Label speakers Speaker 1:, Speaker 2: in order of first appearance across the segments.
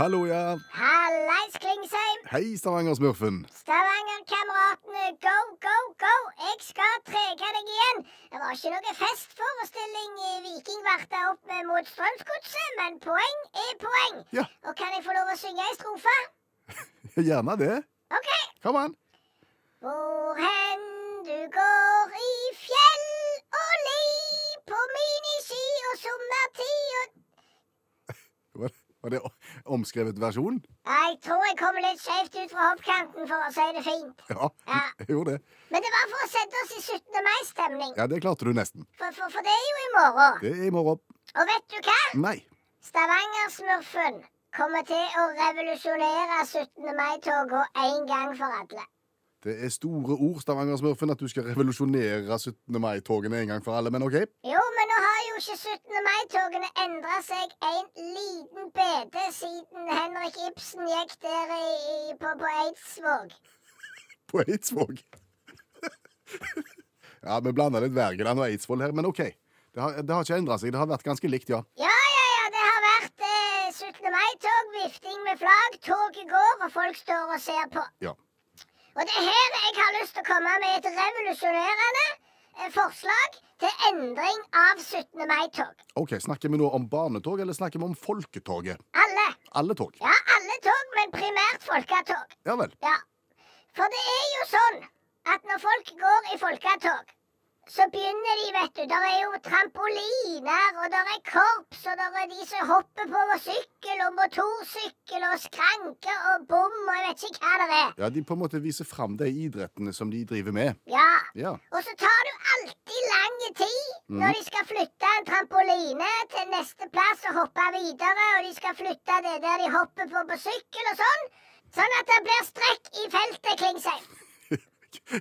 Speaker 1: Hallo, ja.
Speaker 2: Hallais, Klingsheim!
Speaker 1: Hei, Stavanger-smurfen.
Speaker 2: Stavanger-kameratene, go, go, go! Jeg skal trege deg igjen. Det var ikke noe festforestilling i Viking varta opp mot Strømsgodset, men poeng er poeng.
Speaker 1: Ja.
Speaker 2: Og kan jeg få lov å synge ei strofe?
Speaker 1: Gjerne det.
Speaker 2: OK.
Speaker 1: Kom an.
Speaker 2: Hvor hen du går i fjell og li, på miniski og sommertid og
Speaker 1: Var var det omskrevet versjon?
Speaker 2: Jeg tror jeg kommer litt skjevt ut fra hoppkanten, for å si det fint.
Speaker 1: Ja,
Speaker 2: Ja.
Speaker 1: jeg gjorde det.
Speaker 2: Men det var for å sette oss i 17. mai-stemning.
Speaker 1: Ja, det klarte du nesten.
Speaker 2: For, for, for det er jo i morgen.
Speaker 1: Det er i morgen.
Speaker 2: Og vet du hva?
Speaker 1: Nei.
Speaker 2: Stavanger-smurfen kommer til å revolusjonere 17. mai-toga en gang for alle.
Speaker 1: Det er store ord, Stavanger-smurfen, at du skal revolusjonere 17. mai-togene en gang for alle, men OK.
Speaker 2: Jo, men nå har jo ikke 17. mai-togene endra seg en liten bete siden Henrik Ibsen gikk der i, i, på, på Eidsvåg.
Speaker 1: På Eidsvåg. ja, vi blanda litt Wergeland og Eidsvoll her, men OK. Det har, det har ikke endra seg. Det har vært ganske likt, ja.
Speaker 2: Ja, ja, ja, det har vært eh, 17. mai-tog, vifting med flagg, toget går, og folk står og ser på.
Speaker 1: ja.
Speaker 2: Og det er her jeg har lyst til å komme med et revolusjonerende eh, forslag til endring av 17. mai-tog.
Speaker 1: OK, snakker vi nå om barnetog, eller snakker vi om folketoget?
Speaker 2: Alle.
Speaker 1: Alle tog.
Speaker 2: Ja, alle tog, men primært folketog.
Speaker 1: Ja vel.
Speaker 2: Ja. For det er jo sånn at når folk går i folketog, så begynner de, vet du. Der er jo trampoliner, og der er korps, og der er de som hopper på sykkel og motorsykkel og skranke og bom og jeg vet ikke hva det er.
Speaker 1: Ja, de på en måte viser fram de idrettene som de driver med.
Speaker 2: Ja.
Speaker 1: Ja.
Speaker 2: Og så tar du alltid lang tid når de skal flytte en trampoline til neste plass og hoppe videre, og de skal flytte det der de hopper på på sykkel og sånn. Sånn at det blir strekk i feltet, Klingsheim.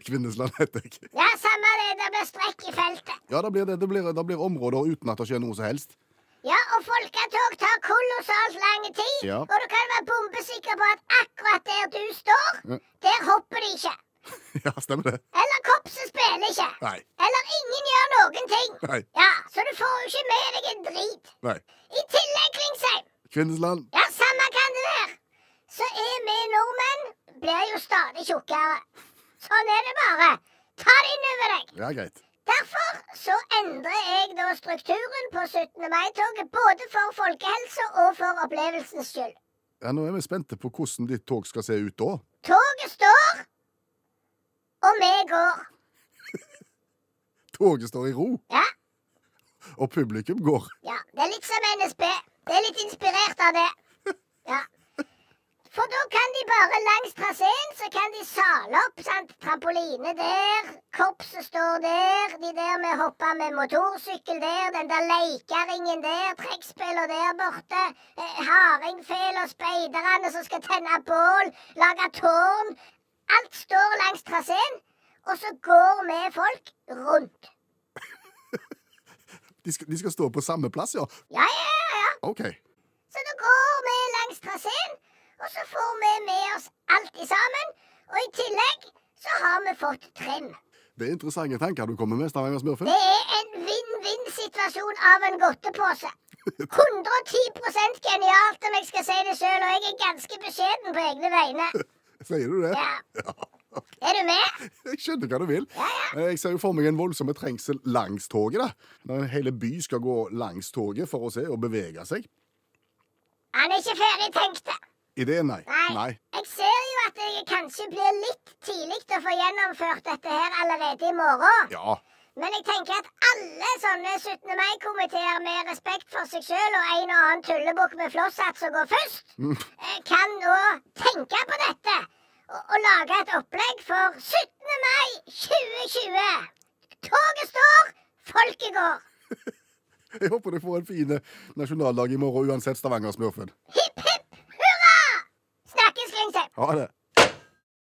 Speaker 1: Kvinnesland heter jeg.
Speaker 2: Ja, samme det, det blir strekk i feltet.
Speaker 1: Ja, da blir det, det, blir, det blir områder uten at det skjer noe som helst.
Speaker 2: Ja, og folketog tar kolossalt lang tid,
Speaker 1: Ja.
Speaker 2: og du kan være bombesikker på at akkurat der du står,
Speaker 1: Ja.
Speaker 2: der hopper de ikke.
Speaker 1: Ja, stemmer det.
Speaker 2: Eller korpset spiller ikke.
Speaker 1: Nei.
Speaker 2: Eller ingen gjør noen ting.
Speaker 1: Nei.
Speaker 2: Ja, Så du får jo ikke med deg en drit.
Speaker 1: Nei.
Speaker 2: I tillegg, Klingsheim,
Speaker 1: Kvinnesland.
Speaker 2: ja, samme kan det være, så er vi nordmenn blir jo stadig tjukkere. Sånn er det bare. Ta det inn over deg.
Speaker 1: Ja, greit.
Speaker 2: Derfor så endrer jeg da strukturen på 17. mai-toget, både for folkehelsa og for opplevelsens skyld.
Speaker 1: Ja, Nå er vi spente på hvordan ditt tog skal se ut da.
Speaker 2: Toget står, og vi går.
Speaker 1: Toget står i ro,
Speaker 2: Ja,
Speaker 1: og publikum går.
Speaker 2: Ja, det er litt som NSB. Det er litt inspirert av det. Ja. For da kan de bare langs traseen så kan de sale opp. sant? Trampoline der, korpset står der, de der med hoppa med motorsykkel der, den der leikeringen der, trekkspiller der borte, eh, hardingfele og speiderne som skal tenne bål, lage tårn. Alt står langs traseen, og så går vi folk rundt.
Speaker 1: De skal, de skal stå på samme plass, ja.
Speaker 2: Ja, ja, ja, ja.
Speaker 1: OK.
Speaker 2: Så da går vi langs traseen, og så får vi med oss alt i sammen. Og i tillegg så har vi fått trim.
Speaker 1: Det er interessante tanker du kommer med, Stavanger-smurfen.
Speaker 2: Det er en vinn-vinn-situasjon av en godtepose. 110 genialt, om jeg skal si det sjøl, og jeg er ganske beskjeden på egne vegne.
Speaker 1: Sier du det?
Speaker 2: Ja.
Speaker 1: Ja.
Speaker 2: Er du med?
Speaker 1: Jeg skjønner hva du vil. Jeg ser jo for meg en voldsom trengsel langs toget. da. Når en hele by skal gå langs toget for å se og bevege seg.
Speaker 2: Han er ikke ferdig tenkt. det.
Speaker 1: Ideen, nei.
Speaker 2: Nei. Jeg ser jo at jeg kanskje blir litt tidlig til å få gjennomført dette her allerede i morgen.
Speaker 1: Ja.
Speaker 2: Men jeg tenker at alle sånne 17. mai-komiteer med respekt for seg sjøl og en og annen tullebukk med flosshatt som går først, eh, kan nå tenke på dette og, og lage et opplegg for 17. mai 2020. Toget står, folket går.
Speaker 1: Jeg håper du får en fin nasjonaldag i morgen uansett, Stavanger-smurfen.
Speaker 2: Hipp, hipp hurra! Snakkes, Klingsheim.
Speaker 1: Ha det.